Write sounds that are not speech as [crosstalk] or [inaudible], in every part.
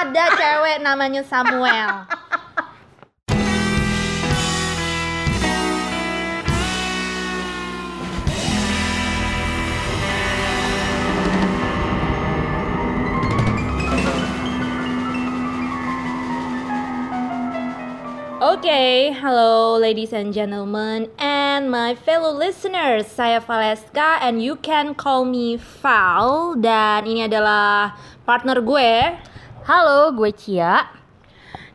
ada cewek namanya Samuel. Oke, hello ladies and gentlemen and my fellow listeners. Saya Valeska and you can call me Val dan ini adalah partner gue. Halo, gue Cia.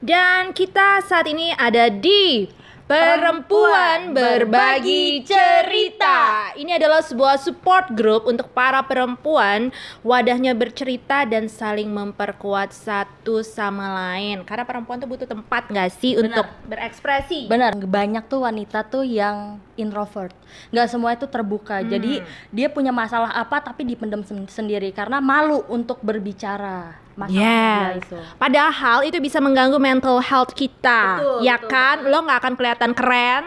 Dan kita saat ini ada di Perempuan Berbagi Cerita. Ini adalah sebuah support group untuk para perempuan, wadahnya bercerita dan saling memperkuat satu sama lain. Karena perempuan tuh butuh tempat nggak sih untuk berekspresi. Benar, banyak tuh wanita tuh yang introvert. Nggak semua itu terbuka. Jadi dia punya masalah apa tapi dipendam sen- sendiri karena malu untuk berbicara masalah dia Yes. itu. Padahal itu bisa mengganggu mental health kita, Betul, ya betul, kan? Lo nggak akan kelihatan keren.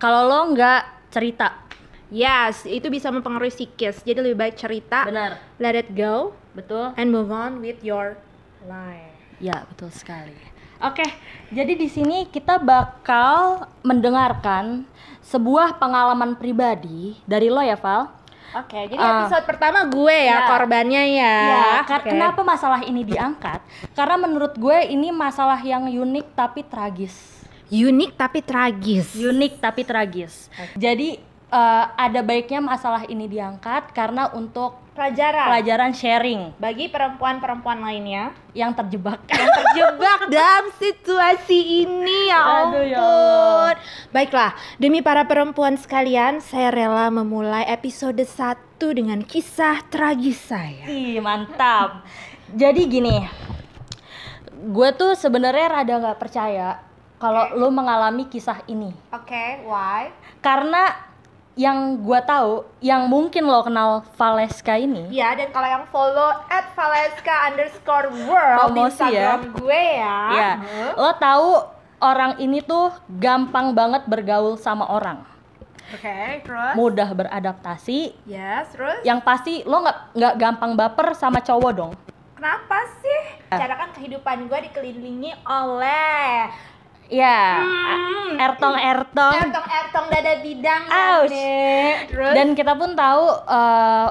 Kalau lo nggak cerita, Yes, itu bisa mempengaruhi psikis. Jadi lebih baik cerita, Ah. benar, let it go, betul. and move on with your life. Ya, betul sekali. Oke, Jadi di sini kita bakal mendengarkan sebuah pengalaman pribadi dari lo ya, Val. oke. jadi Ah. episode pertama gue ya Ya. korbannya ya. Ya, kar- Oke. kenapa masalah ini diangkat? Karena menurut gue ini masalah yang unik tapi tragis. Unik tapi tragis. Unik tapi tragis. Jadi eh, ada baiknya masalah ini diangkat karena untuk Pelajaran pelajaran sharing bagi perempuan-perempuan lainnya yang [laughs] terjebak. yang terjebak dalam situasi ini ya ampun. Aduh, ya Allah. Baiklah, demi para perempuan sekalian, saya rela memulai episode 1 dengan kisah tragis saya. Ih, mantap. Jadi gini, gue tuh sebenarnya rada nggak percaya kalau lo mengalami kisah ini. Oke, why? Karena yang gue tahu, yang mungkin lo kenal Valeska ini, Ya, dan kalau yang follow at Valeska underscore world Promosi ya. Instagram gue ya. Iya. Hmm. Lo tahu orang ini tuh gampang banget bergaul sama orang, Oke, terus? mudah beradaptasi. Yes, terus? Yang pasti lo nggak nggak gampang baper sama cowok dong. Kenapa sih? Eh. Karena kan kehidupan gue dikelilingi oleh Iya. Hmm. Ertong ertong. Ertong ertong dada bidang ya, Ouch. Iya, Nek. Terus Dan kita pun tahu eh,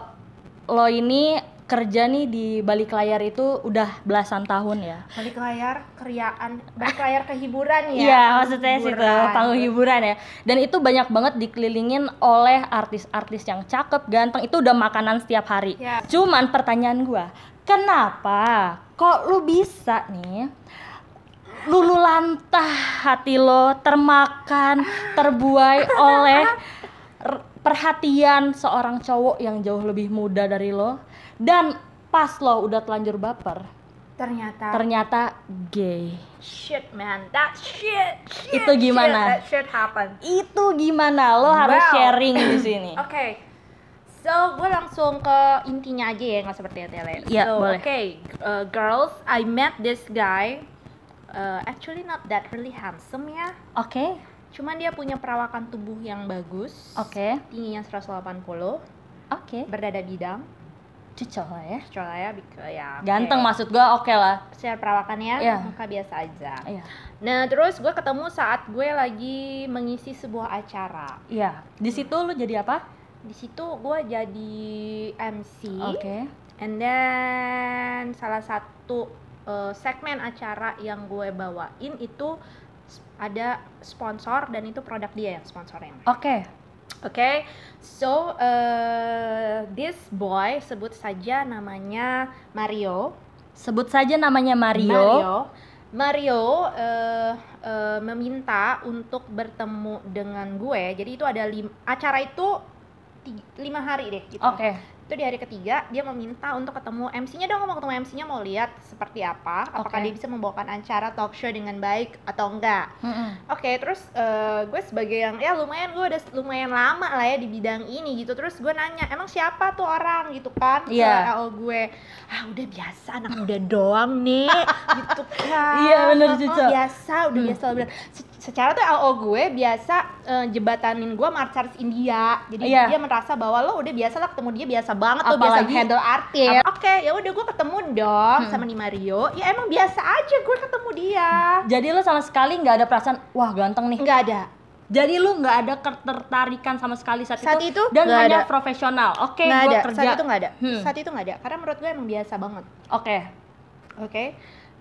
lo ini kerja nih di balik layar itu udah belasan tahun ya. balik layar keriaan, balik layar kehiburan ya. Iya, maksudnya sih itu Hiburan. panggung hiburan ya. Dan itu banyak banget dikelilingin oleh artis-artis yang cakep, ganteng. Itu udah makanan setiap hari. Ya. Cuman pertanyaan gua, kenapa kok lu bisa nih lulu lantah hati lo termakan, terbuai oleh r- perhatian seorang cowok yang jauh lebih muda dari lo dan pas lo udah telanjur baper, Ternyata ternyata gay. shit man, that shit. shit, Itu shit, gimana? that shit happen. itu gimana lo harus Wow. sharing [laughs] di sini Oke. So, gue langsung ke intinya aja ya, nggak seperti tele. Iya, so, boleh. Oke, uh, girls, I met this guy. Uh, actually not that really handsome ya. oke Cuman dia punya perawakan tubuh yang bagus. oke Tingginya 180, oke berdada bidang. cocok lah ya Coba ya, bik- ya. oke. ganteng maksud gua oke lah Secara perawakannya, Iya. muka biasa aja. iya Nah, terus gue ketemu saat gue lagi mengisi sebuah acara. iya di situ lo jadi apa Di situ gue jadi MC. oke And then salah satu eh, segmen acara yang gue bawain itu s- ada sponsor dan itu produk dia yang sponsorin. oke Oke, so eh, this boy sebut saja namanya Mario. sebut saja namanya Mario, Mario, Mario, eh, eh, meminta untuk bertemu dengan gue. Jadi itu ada lim- acara itu ti- lima hari deh. Gitu. oke Itu di hari ketiga dia meminta untuk ketemu MC-nya dong, mau ketemu MC-nya mau lihat seperti apa, apakah Oke. dia bisa membawakan acara talk show dengan baik atau enggak. Mm-mm. Oke, terus eh, gue sebagai yang ya lumayan gue udah lumayan lama lah ya di bidang ini gitu. Terus gue nanya, emang siapa tuh orang gitu kan? ke Iya. LO gue. Ah, udah biasa anak muda doang nih gitu kan. Iya, bener, Oh, oh, Cucu. biasa, udah Hmm. biasa udah. Se- secara tuh LO gue biasa eh, jebatanin gue sama artis India jadi Iya. dia merasa bahwa lo udah biasa lah ketemu dia biasa banget lo biasa Apalagi- Hmm. handle artis oke ya udah gue ketemu dong sama Nima Rio ya emang biasa aja gue ketemu dia Jadi lu sama sekali nggak ada perasaan wah ganteng nih. nggak ada Jadi lu nggak ada ketertarikan sama sekali saat, Saat itu dan nggak hanya ada. profesional. Oke, nggak gua ada kerja. saat itu nggak ada Hmm. saat itu nggak ada karena menurut gue emang biasa banget Oke. Oke.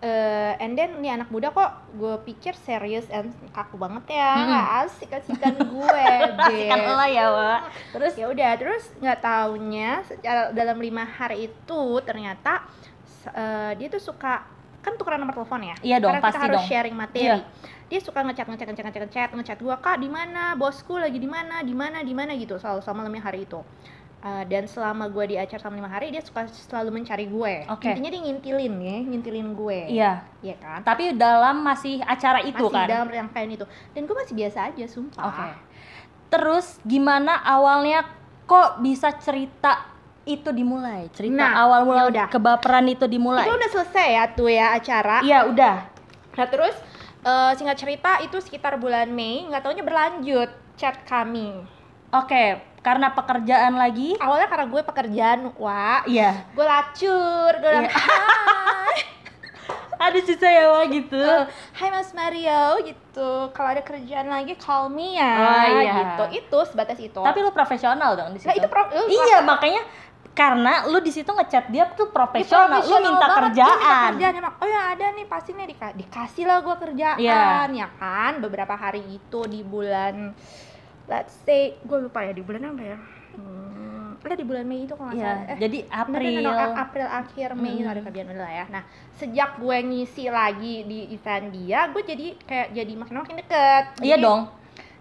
Eh, and then nih anak muda kok gue pikir serius and kaku banget ya Mm-mm. nggak asik [laughs] asikan gue Kasihkan Beb. lo ya, Wak. terus ya udah terus nggak taunya secara- dalam lima hari itu ternyata s- eh, dia tuh suka kan tukeran nomor telepon ya Iya dong, karena pasti kita harus dong. sharing materi Iya. dia suka ngechat ngechat ngechat ngechat ngechat ngechat gua kak di mana bosku lagi di mana di mana di mana gitu selalu sama lima hari itu Eh, dan selama gua di acara sama lima hari dia suka selalu mencari gue Oke. intinya dia ngintilin ya ngintilin gue Iya. Iya kan Tapi dalam masih acara itu masih kan. dalam rangkaian itu dan gue masih biasa aja sumpah Oke. Terus gimana awalnya kok bisa cerita itu dimulai? Cerita Nah, awal mula ya udah. kebaperan itu dimulai. itu udah selesai ya tuh ya acara Iya, udah. Nah terus eh, singkat cerita itu sekitar bulan Mei nggak taunya berlanjut chat kami. Oke, karena pekerjaan lagi. Awalnya karena gue pekerjaan, wah Iya. gue lacur, gue Iya. bilang, "Hai, Ada susah ya Wak, gitu. eh, Hai Mas Mario gitu, kalau ada kerjaan lagi call me ya, Oh, iya. gitu. Itu sebatas itu. Tapi lu profesional dong di situ. nah itu pro, lu- Iya, makanya karena lu di situ ngechat dia tuh dia profesional, lu minta banget, dia kerjaan. minta kerjaan emang. Oh ya ada nih pasti nih dika- dikasih lah gue kerjaan Iya. ya kan. Beberapa hari itu di bulan let's say gue lupa ya di bulan apa ya? Hmm, ada di bulan Mei itu kalau nggak Iya, salah. Eh, jadi bener, April. Hmm. bener, bener, A- April akhir Mei itu ada kerjaan udah lah ya. Nah, sejak gue ngisi lagi di event dia, gue jadi kayak jadi makin makin deket. Iya Jadi, dong.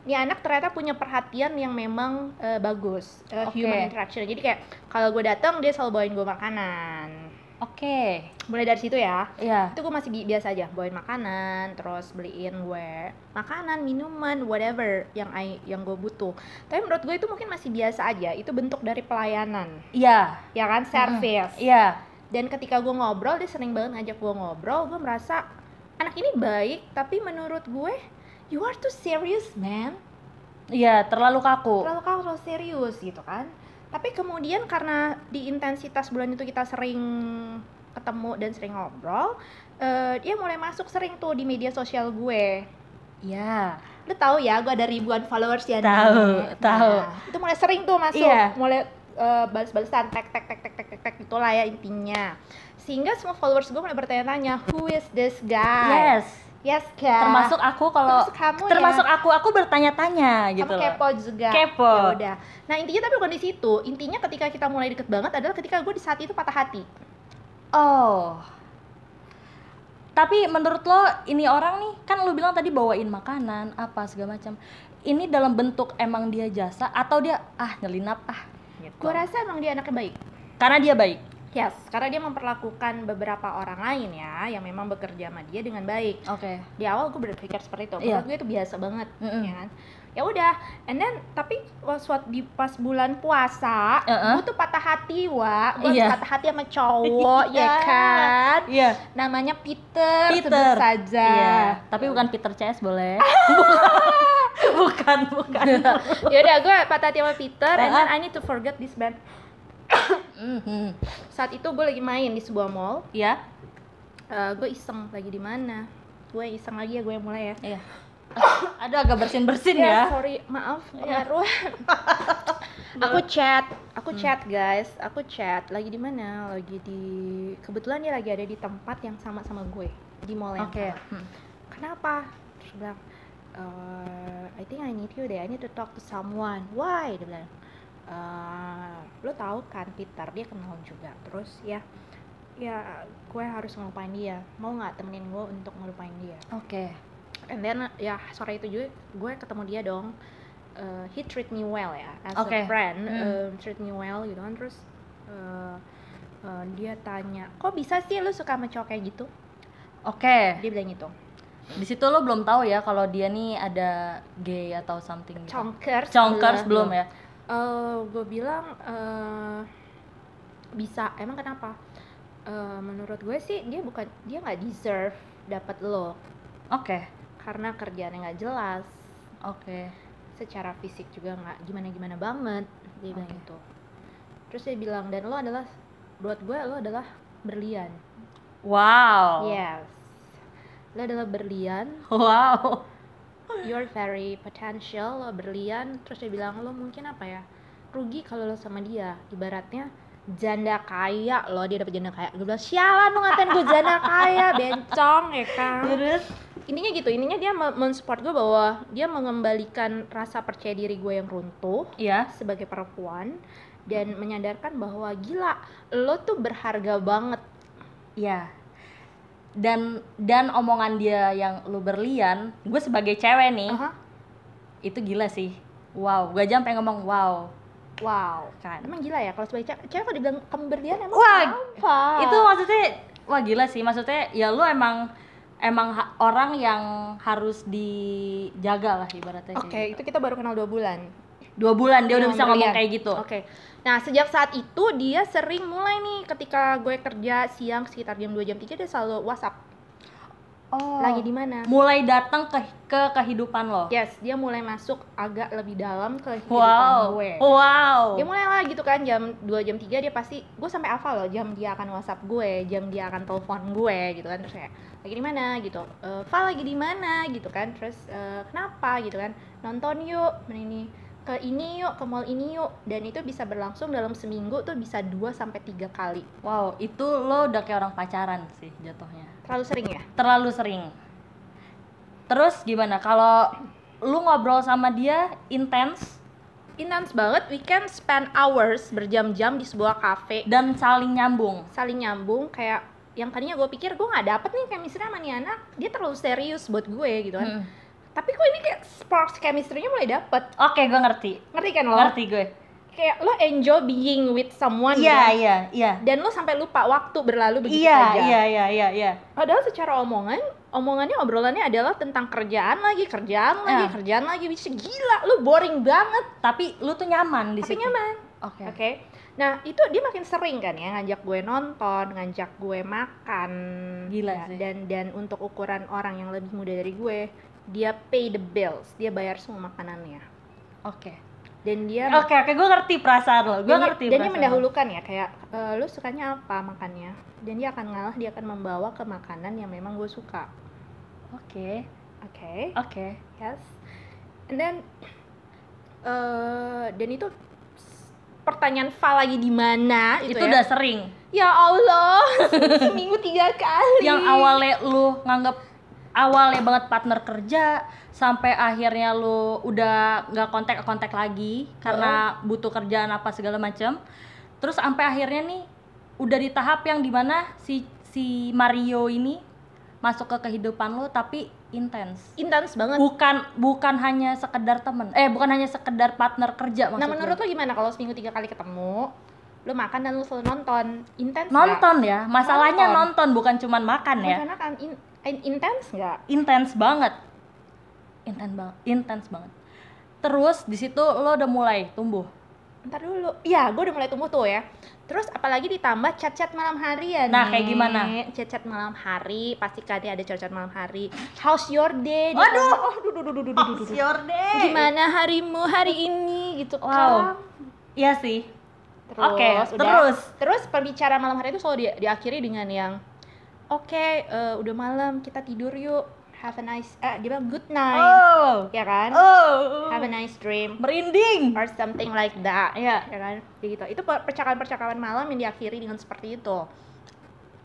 Nih anak ternyata punya perhatian yang memang eh, bagus, eh, Oke. human interaction. Jadi kayak kalau gue datang dia selalu bawain gue makanan. Oke. Mulai dari situ ya Iya. itu gue masih bi- biasa aja bawain makanan terus beliin gue makanan minuman whatever yang I, yang gue butuh tapi menurut gue itu mungkin masih biasa aja itu bentuk dari pelayanan Iya. ya kan service Iya. dan ketika gue ngobrol dia sering banget ngajak gue ngobrol gue merasa anak ini baik tapi menurut gue you are too serious man Iya, terlalu kaku. terlalu kau terlalu serius gitu kan tapi kemudian karena di intensitas bulan itu kita sering ketemu dan sering ngobrol eh, dia mulai masuk sering tuh di media sosial gue Iya. lu tahu ya gue ada ribuan followers ya Nek. Tahu, tahu. itu mulai sering tuh masuk Iya. mulai eh, balas-balasan tek tek tek tek tek tek tek itulah ya intinya sehingga semua followers gue mulai bertanya-tanya who is this guy Yes. yes kan Termasuk aku kalau termasuk kamu ya. termasuk aku aku bertanya-tanya gitu Kamu loh. kepo juga. Kepo. Ya udah. Nah intinya tapi bukan di situ. Intinya ketika kita mulai deket banget adalah ketika gue di saat itu patah hati. Oh. Tapi menurut lo ini orang nih kan lo bilang tadi bawain makanan apa segala macam. Ini dalam bentuk emang dia jasa atau dia ah nyelinap ah gitu. Gue rasa emang dia anaknya baik. Karena dia baik. Yes. Karena dia memperlakukan beberapa orang lain ya yang memang bekerja sama dia dengan baik. Oke. Di awal gue berpikir seperti itu. Iya. Hmm. Menurut gue itu biasa banget. Mm-mm. Ya kan? Ya udah. And then tapi pas waktu di pas bulan puasa, Uh-uh. gue tuh patah hati wa. Gue Iya. patah hati sama cowok ya [laughs] Iya. kan. Iya. Namanya Peter, sebut Peter. saja. Iya. Tapi bukan Peter CS [laughs] boleh. bukan, bukan. Iya. Yaudah, gue Ya patah hati sama Peter, and then Ah. I need to forget this band. Mhm. Saat itu gue lagi main di sebuah mall, Iya. Eh, gue iseng lagi di mana? Gue iseng lagi ya, gue yang mulai ya. Iya. Ada agak bersin-bersin Ya, ya. sorry, maaf pengaruh. aku chat, aku chat guys, aku chat. Lagi di mana? Lagi di kebetulan dia lagi ada di tempat yang sama sama gue di mall yang Oke. sama. Hmm. Kenapa? Terus dia bilang, "Eh, I think I need you deh. I need to talk to someone. Why? Dia bilang, "Eh, lo tahu kan Peter dia kenal juga. Terus ya, ya gue harus ngelupain dia. Mau nggak temenin gue untuk ngelupain dia? Oke. And then ya sore itu juga gue ketemu dia dong. Eh, he treat me well ya as Oke. a friend, Hmm. em, treat me well gitu kan. Terus eh, eh, dia tanya, kok bisa sih lu suka sama cowok kayak gitu? Oke. Dia bilang gitu. Iya. Di situ lo belum tahu ya kalau dia nih ada gay atau something gitu. Congkers. lah. Congkers belum ya? gue bilang eh, bisa. Emang kenapa? Eh, menurut gue sih dia bukan dia nggak deserve dapat lo Oke. karena kerjaannya nggak jelas Oke. secara fisik juga nggak gimana-gimana banget dia bilang Oke. gitu terus dia bilang dan lo adalah buat gue lo adalah berlian Wow. yes lo adalah berlian [laughs] Wow. you're very potential lo berlian terus dia bilang lo mungkin apa ya rugi kalau lo sama dia ibaratnya janda kaya lo dia dapet janda kaya gue bilang sialan lo ngatain gue janda [laughs] kaya bencong ya kan Terus intinya gitu intinya dia me- mensupport gue bahwa dia mengembalikan rasa percaya diri gue yang runtuh ya. sebagai perempuan dan menyadarkan bahwa gila lo tuh berharga banget Iya. Ya. Dan dan omongan dia yang lu berlian, gue sebagai cewek nih, Aha. itu gila sih. Wow, gue aja sampai ngomong wow. wow Kan. emang gila ya kalau sebagai cewek cewek kalau dibilang kamu berlian emang Wah, apa Itu maksudnya wah gila sih. Maksudnya ya lu emang emang ha- orang yang harus dijaga lah ibaratnya kayak oke gitu. itu kita baru kenal dua bulan Dua bulan dia Dia udah bisa ngomong berlian. kayak gitu. oke nah sejak saat itu dia sering mulai nih ketika gue kerja siang sekitar jam 2 jam 3 dia selalu whatsapp Oh. lagi di mana mulai datang ke ke kehidupan lo. yes dia mulai masuk agak lebih dalam ke kehidupan Wow. Oh. gue Wow. dia mulai lah gitu kan jam 2 jam 3 dia pasti gue sampai hafal loh jam dia akan whatsapp gue jam dia akan telepon gue gitu kan terus kayak lagi di mana gitu Eh, Val lagi di mana gitu kan terus eh, kenapa gitu kan nonton yuk ini ke ini yuk ke mall ini yuk dan itu bisa berlangsung dalam seminggu tuh bisa 2 sampai tiga kali Wow, itu lo udah kayak orang pacaran sih jatuhnya. terlalu sering ya Terlalu sering. Terus gimana kalau lu ngobrol sama dia intens intens banget we can spend hours berjam-jam di sebuah cafe dan saling nyambung? saling nyambung kayak yang tadinya gue pikir gue nggak dapet nih chemistry sama nih anak dia terlalu serius buat gue gitu kan Hmm. tapi kok ini kayak sparks chemistry-nya mulai dapet Oke, gue ngerti. ngerti kan lo? Ngerti gue. kayak lo enjoy being with someone Iya, kan? iya, iya. dan lo sampai lupa waktu berlalu begitu Iya, saja iya, iya, iya, iya. padahal secara omongan omongannya obrolannya adalah tentang kerjaan lagi kerjaan lagi Ah. kerjaan lagi bisa gila lo boring banget Tapi lu tuh nyaman di tapi situ. nyaman Oke. oke nah itu dia makin sering kan ya ngajak gue nonton ngajak gue makan Gila Ya, sih. dan dan untuk ukuran orang yang lebih muda dari gue dia pay the bills dia bayar semua makanannya Oke. dan dia Oke, oke, gue ngerti perasaan lo. dan, Gue dia- Oh, ngerti. dan dia perasaan lo. mendahulukan ya kayak e, lu sukanya apa makannya dan dia akan ngalah dia akan membawa ke makanan yang memang gue suka Oke, oke oke. yes and then eh, dan itu s- pertanyaan Val lagi di mana gitu Itu ya. udah sering. ya [laughs] Allah seminggu tiga kali yang awalnya lu nganggep awalnya banget partner kerja sampai akhirnya lu udah nggak kontak kontak lagi karena butuh kerjaan apa segala macam terus sampai akhirnya nih udah di tahap yang dimana si si Mario ini masuk ke kehidupan lu tapi intens intens Uh, banget bukan bukan hanya sekedar temen eh bukan hanya sekedar partner kerja nah maksudnya menurut lo gimana kalau seminggu tiga kali ketemu lu makan dan lu selalu nonton intens nonton ya masalahnya Nonton. nonton, bukan cuman makan ya karena kan in- in- intens nggak intens banget intens banget intens banget terus di situ lo udah mulai tumbuh ntar dulu ya gue udah mulai tumbuh tuh ya terus apalagi ditambah chat-chat malam hari ya Nek. Nah, kayak gimana? chat-chat malam hari pasti kan ada chat-chat malam hari how's your day Waduh! Ditanya, oh, duh, duh, duh, duh, duh, duh, duh, duh. gimana harimu hari ini gitu Wow. kan iya sih terus oke udah. terus terus perbicaraan malam hari itu selalu di- diakhiri dengan yang oke eh, udah malam kita tidur yuk have a nice eh dia bilang good night oh ya kan oh have a nice dream merinding or something like that Iya. ya kan Kayak gitu itu per- percakapan-percakapan malam yang diakhiri dengan seperti itu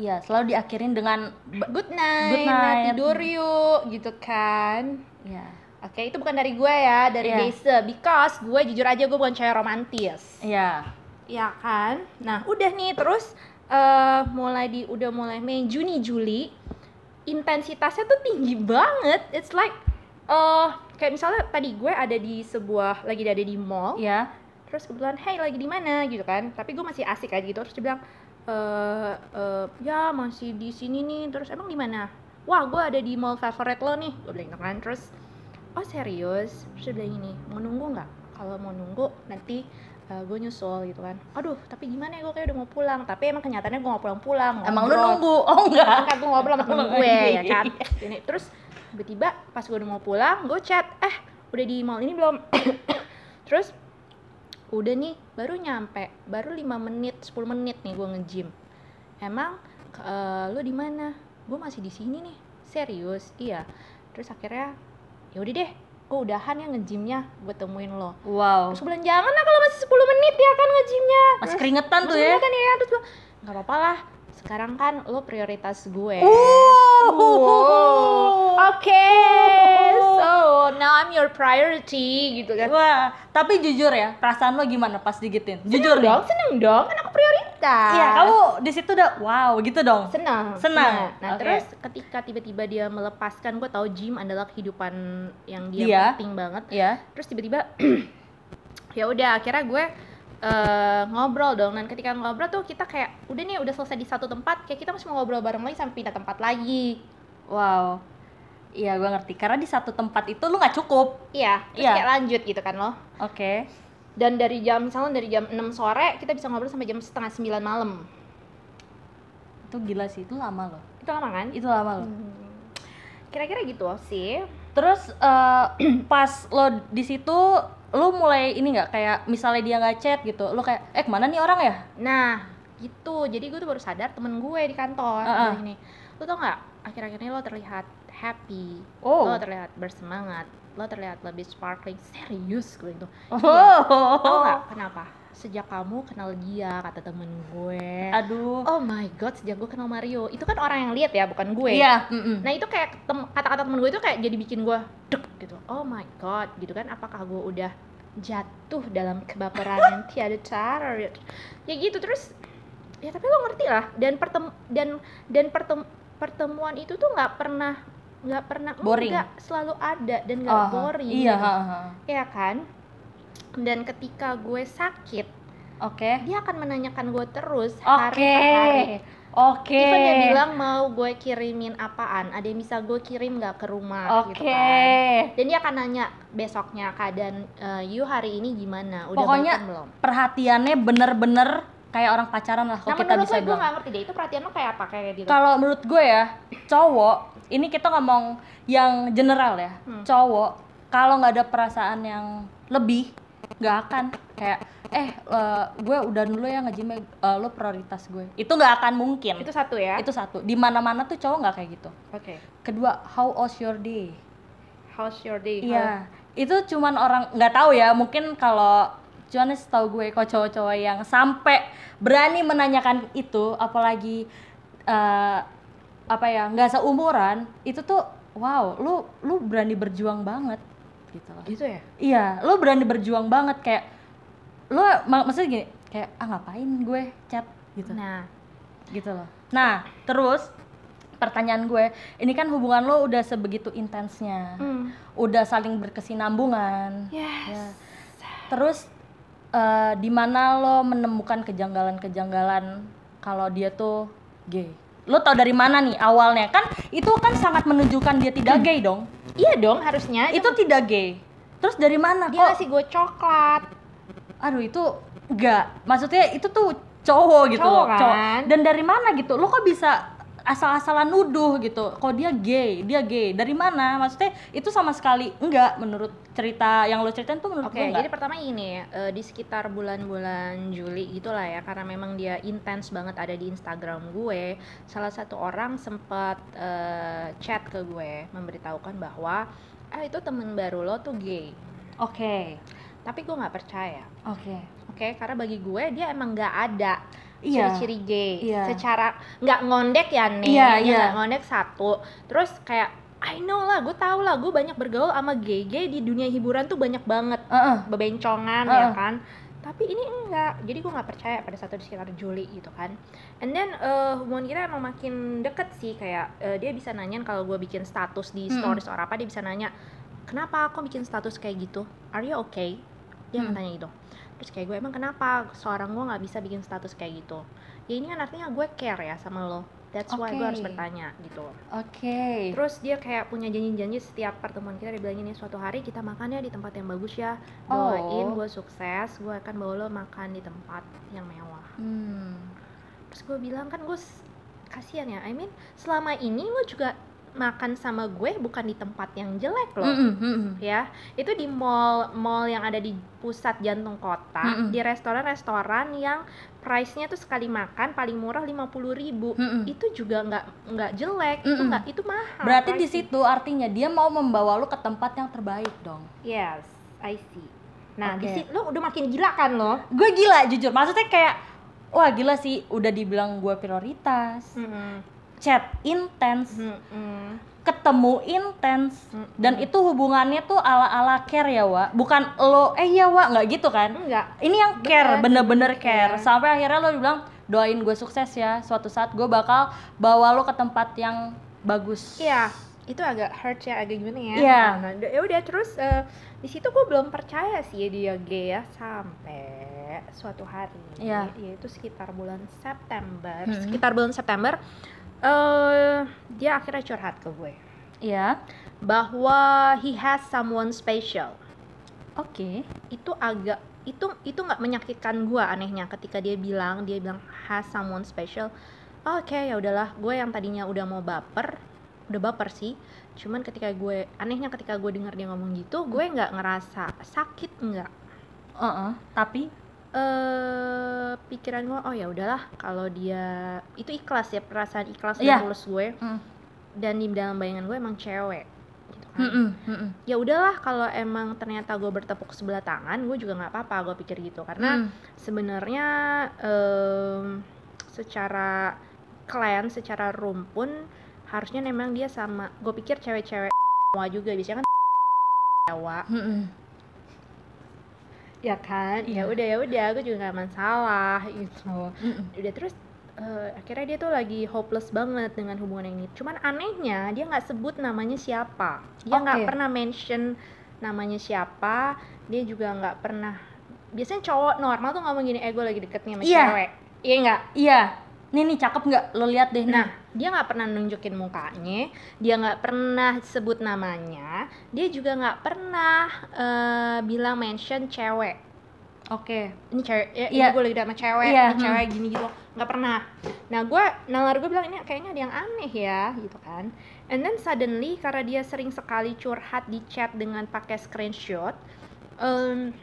iya selalu diakhirin dengan ba- good night, Good nah night. tidur yuk gitu kan iya oke itu bukan dari gue ya dari Iya. Desa because gue jujur aja gue bukan cewek romantis iya ya kan nah udah nih terus eh mulai di udah mulai Mei Juni Juli intensitasnya tuh tinggi banget it's like eh kayak misalnya tadi gue ada di sebuah lagi ada di mall iya terus kebetulan hey lagi di mana gitu kan tapi gue masih asik aja gitu terus dia bilang eh eh, ya masih di sini nih terus emang di mana wah gue ada di mall favorit lo nih gue bilang gitu kan terus oh serius terus dia bilang gini mau nunggu nggak kalau mau nunggu nanti gue nyusul gitu kan aduh tapi gimana ya gue kayak udah mau pulang tapi emang kenyataannya gue nggak pulang pulang emang lo nunggu oh iya. enggak kan gue ngobrol sama temen gue ya kan ini terus tiba-tiba pas gue udah mau pulang gue chat eh udah di mall ini belum [coughs] terus udah nih baru nyampe baru 5 menit 10 menit nih gue nge-gym emang eh, lu di mana gue masih di sini nih serius iya terus akhirnya ya udah deh gue udahan ya nge-gymnya gue temuin lo Wow. terus gue bilang jangan lah kalau masih 10 menit ya kan nge-gymnya Masih keringetan tuh Maksudnya ya. kan ya terus gue nggak apa-apa lah sekarang kan lo prioritas gue Oh. Wow. Uh. Oke, so now I'm your priority gitu kan. Wah, tapi jujur ya, perasaan lo gimana pas digitin? Jujur seneng dong, nih. seneng dong, kan aku prioritas. Iya, kamu di situ udah wow gitu dong. senang. Senang. Nah Oke. terus ketika tiba-tiba dia melepaskan, gue tahu gym adalah kehidupan yang dia Dia. penting banget. Iya. Terus tiba-tiba [clears throat] ya udah akhirnya gue eh, ngobrol dong dan ketika ngobrol tuh kita kayak udah nih udah selesai di satu tempat kayak kita masih mau ngobrol bareng lagi sampai pindah tempat lagi Wow. Iya, gua ngerti. Karena di satu tempat itu lu nggak cukup. iya terus Iya. kayak lanjut gitu kan loh Oke. dan dari jam misalnya dari jam 6 sore kita bisa ngobrol sampai jam setengah 9 malam Itu gila sih, itu lama loh. itu lama kan Itu lama loh. kira-kira gitu sih Terus eh, [clears throat] pas lo di situ lo mulai ini nggak kayak misalnya dia nggak chat gitu, lo kayak eh kemana nih orang ya? nah gitu jadi gue tuh baru sadar temen gue di kantor Heeh. bilang ini lo tau nggak akhir-akhir ini lo terlihat happy Oh. lo terlihat bersemangat lo terlihat lebih sparkling serius gue itu [laughs] tau Oh. nggak kenapa sejak kamu kenal dia kata temen Eh. gue Aduh. oh my god sejak gue kenal Mario itu kan orang yang lihat ya bukan gue Iya. mm-mm. Nah itu kayak tem- kata-kata temen gue itu kayak jadi bikin gue dek gitu. Oh my god gitu kan. Apakah gue udah jatuh dalam kebaperan yang tiada cara ya Ya gitu terus ya tapi lo ngerti lah dan pertem dan dan pertem- pertemuan itu tuh nggak pernah nggak pernah Boring. enggak, selalu ada dan nggak Ah, boring Iya. ha, ha. ya kan dan ketika gue sakit Oke. dia akan menanyakan gue terus hari Oke. per hari Oke. Even dia bilang mau gue kirimin apaan, ada yang bisa gue kirim nggak ke rumah gitu Oke. kan. Dan dia akan nanya besoknya keadaan eh, you hari ini gimana, udah Pokoknya- bangun belum? Perhatiannya bener-bener kayak orang pacaran lah Nah kalau kita menurut lo bisa gue bilang. nggak ngerti deh, itu perhatian lo kayak apa kayak gitu? Kalau menurut gue ya, cowok ini kita ngomong yang general ya. Hmm. Cowok kalau nggak ada perasaan yang lebih nggak akan kayak eh eh, gue udah dulu ya ngejim lo prioritas gue itu nggak akan mungkin Itu satu ya. itu satu di mana mana tuh cowok nggak kayak gitu Oke. kedua how was your day How's your day? Iya, itu cuman orang nggak tahu ya. Mungkin kalau cuman setahu gue kok cowok-cowok yang sampai berani menanyakan itu, apalagi eh, apa ya nggak seumuran, itu tuh wow, lu lu berani berjuang banget gitu loh. Halo. Gitu ya. Iya, lu berani berjuang banget kayak lu mak- maksudnya gini kayak ah ngapain gue chat gitu Nah, gitu loh. Nah terus pertanyaan gue, ini kan hubungan lo udah sebegitu intensnya hmm, udah saling berkesinambungan. Ya. yes. Terus eh, di mana lo menemukan kejanggalan-kejanggalan kalau dia tuh gay? Lo tau dari mana nih awalnya? Kan itu kan sangat menunjukkan dia tidak gay dong. Iya dong harusnya. Itu tidak gay. Terus dari mana dia kok? ngasih gue coklat. Aduh itu enggak. Maksudnya itu tuh cowok gitu Cowok loh, kan? Dan dari mana gitu? Lo kok bisa asal-asalan nuduh gitu? Kok dia gay? Dia gay. Dari mana? Maksudnya itu sama sekali enggak menurut cerita yang lo ceritain tuh menurut Oke, gue enggak. jadi pertama ini di sekitar bulan-bulan Juli gitulah ya, karena memang dia intens banget ada di Instagram gue. Salah satu orang sempat eh, chat ke gue memberitahukan bahwa ah itu temen baru lo tuh gay. Oke, Tapi gue nggak percaya. oke. Oke, karena bagi gue dia emang nggak ada Iya. ciri-ciri gay. Iya. Secara nggak ngondek ya nih, Iya, ya iya. nggak ngondek satu. Terus kayak I know lah, gue tau lah, gue banyak bergaul sama gay-gay di dunia hiburan tuh banyak banget Heeh. bebencongan ya Heeh. kan tapi ini enggak jadi gue nggak percaya pada satu di sekitar Juli gitu kan and then eh, hubungan kita emang makin deket sih kayak eh, dia bisa nanyain kalau gue bikin status di Mm-mm. stories or apa dia bisa nanya kenapa aku bikin status kayak gitu are you okay dia Hmm. akan tanya gitu terus kayak gue emang kenapa seorang gue nggak bisa bikin status kayak gitu ya ini kan artinya gue care ya sama lo that's why gue harus Oke. bertanya gitu Oke. Terus dia kayak punya janji-janji setiap pertemuan kita dia bilang ini suatu hari kita makan ya di tempat yang bagus ya. Doain Oh. gue sukses, gue akan bawa lo makan di tempat yang mewah. Hmm. Terus gue bilang kan gue s- kasihan ya, I mean selama ini lo juga makan sama gue bukan di tempat yang jelek loh. Mm-mm, mm-mm. ya itu di mall mall yang ada di pusat jantung kota Mm-mm. di restoran-restoran yang price-nya tuh sekali makan paling murah 50.000 ribu Mm-mm. itu juga nggak nggak jelek itu Mm-mm. nggak itu mahal Berarti di price-nya. situ artinya dia mau membawa lu ke tempat yang terbaik dong. yes I see nah di Oke. situ lo udah makin gila kan lo Gue gila jujur, maksudnya kayak wah gila sih udah dibilang gue prioritas, Hmm. chat intens, ketemu intens. Dan Hmm. itu hubungannya tuh ala-ala care ya, Wa. Bukan lo eh ya, Wa, nggak gitu kan? enggak Ini yang Bener. care, Iya. bener-bener care. Care. Sampai akhirnya lo bilang doain gue sukses ya. Suatu saat gue bakal bawa lo ke tempat yang bagus. Iya, itu agak hurt ya, agak gimana ya. Iya. Nah, nah, ya udah terus eh, di situ gue belum percaya sih ya dia gay ya sampai suatu hari Iya. yaitu sekitar bulan September. Mm-mm. Sekitar bulan September eh dia akhirnya curhat ke gue Iya. bahwa he has someone special. Oke. Itu agak itu itu nggak menyakitkan gue anehnya ketika dia bilang dia bilang has someone special oke ya udahlah gue yang tadinya udah mau baper udah baper sih cuman ketika gue anehnya ketika gue denger dia ngomong gitu gue nggak ngerasa sakit nggak Heeh. Tapi eh pikiran gue oh ya udahlah kalau dia itu ikhlas ya perasaan ikhlas Iya. dan tulus gue Mm. dan di dalam bayangan gue emang cewek gitu kan Mm-mm, mm-mm. ya udahlah kalau emang ternyata gue bertepuk sebelah tangan gue juga nggak apa-apa gue pikir gitu karena Mm. sebenarnya em, secara klan secara rumpun harusnya memang dia sama gue pikir cewek-cewek semua juga biasanya kan Jawa Mm-mm. ya kan ya Iya. udah ya udah gue juga nggak masalah gitu Mm-mm. udah terus eh, akhirnya dia tuh lagi hopeless banget dengan hubungan yang ini cuman anehnya dia nggak sebut namanya siapa dia nggak Oke. pernah mention namanya siapa dia juga nggak pernah biasanya cowok normal tuh ngomong gini eh gue lagi deket nih sama Iya. cewek iya nggak Iya. Nih nih cakep nggak? Lo lihat deh. nih. Nah, dia nggak pernah nunjukin mukanya, dia nggak pernah sebut namanya, dia juga nggak pernah eh, bilang mention cewek. Oke. Ini cewek, ya, Iya. ini gue lagi deket sama cewek, Iya, ini cewek gini gitu, nggak pernah. Nah, gue nalar gue bilang ini kayaknya ada yang aneh ya, gitu kan. And then suddenly karena dia sering sekali curhat di chat dengan pakai screenshot, em,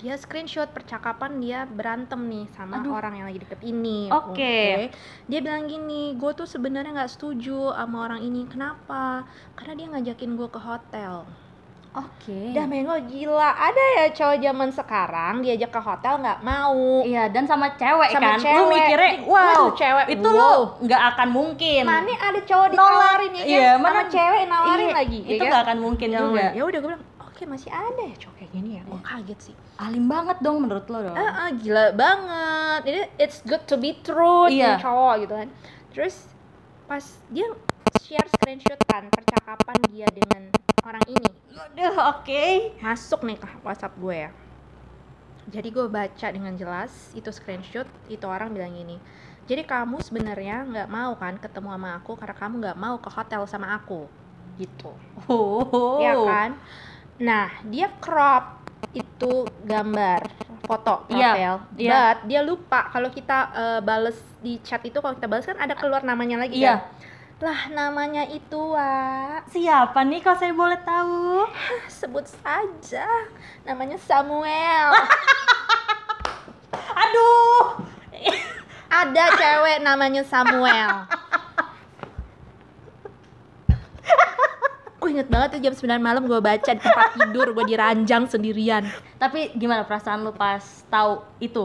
dia screenshot percakapan dia berantem nih sama Aduh. orang yang lagi deket ini. Oke. Dia bilang gini, gue tuh sebenarnya nggak setuju sama orang ini. Kenapa? Karena dia ngajakin gue ke hotel. Oke. Dah mengo gila, ada ya cowok zaman sekarang diajak ke hotel nggak mau. Iya dan sama cewek Sama kan. cewek. Lu mikirnya, wow, Waduh, cewek. itu lo Wow. nggak akan mungkin. Mana ada cowok Nolak. ditawarin ya kan? Iya, sama mana- cewek nawarin Iya, lagi. Itu ya nggak kan? akan mungkin Ya juga. Iya. udah- Ya udah gue bilang, oke masih ada ya cowok kayak gini ya. Gue kaget sih. Alim banget dong menurut lo dong. Ah, ah, gila banget. Jadi it's good to be true ini Iya. cowok gitu kan. Terus pas dia share screenshot kan percakapan dia dengan orang ini Aduh, oke. masuk nih ke WhatsApp gue ya. Jadi gue baca dengan jelas itu screenshot itu orang bilang gini. Jadi kamu sebenarnya nggak mau kan ketemu sama aku karena kamu nggak mau ke hotel sama aku gitu. Oh. Ya kan? Nah, dia crop itu gambar foto Iya, profile. iya. But dia lupa kalau kita eh, bales di chat itu kalau kita bales kan ada keluar namanya lagi Iya. kan? Lah namanya itu Wak Siapa nih kalau saya boleh tahu? sebut saja namanya Samuel. Ah. Aduh. ada cewek namanya Samuel gue inget banget tuh jam 9 malam gue baca di tempat tidur gue diranjang sendirian Tapi gimana perasaan lu pas tahu itu?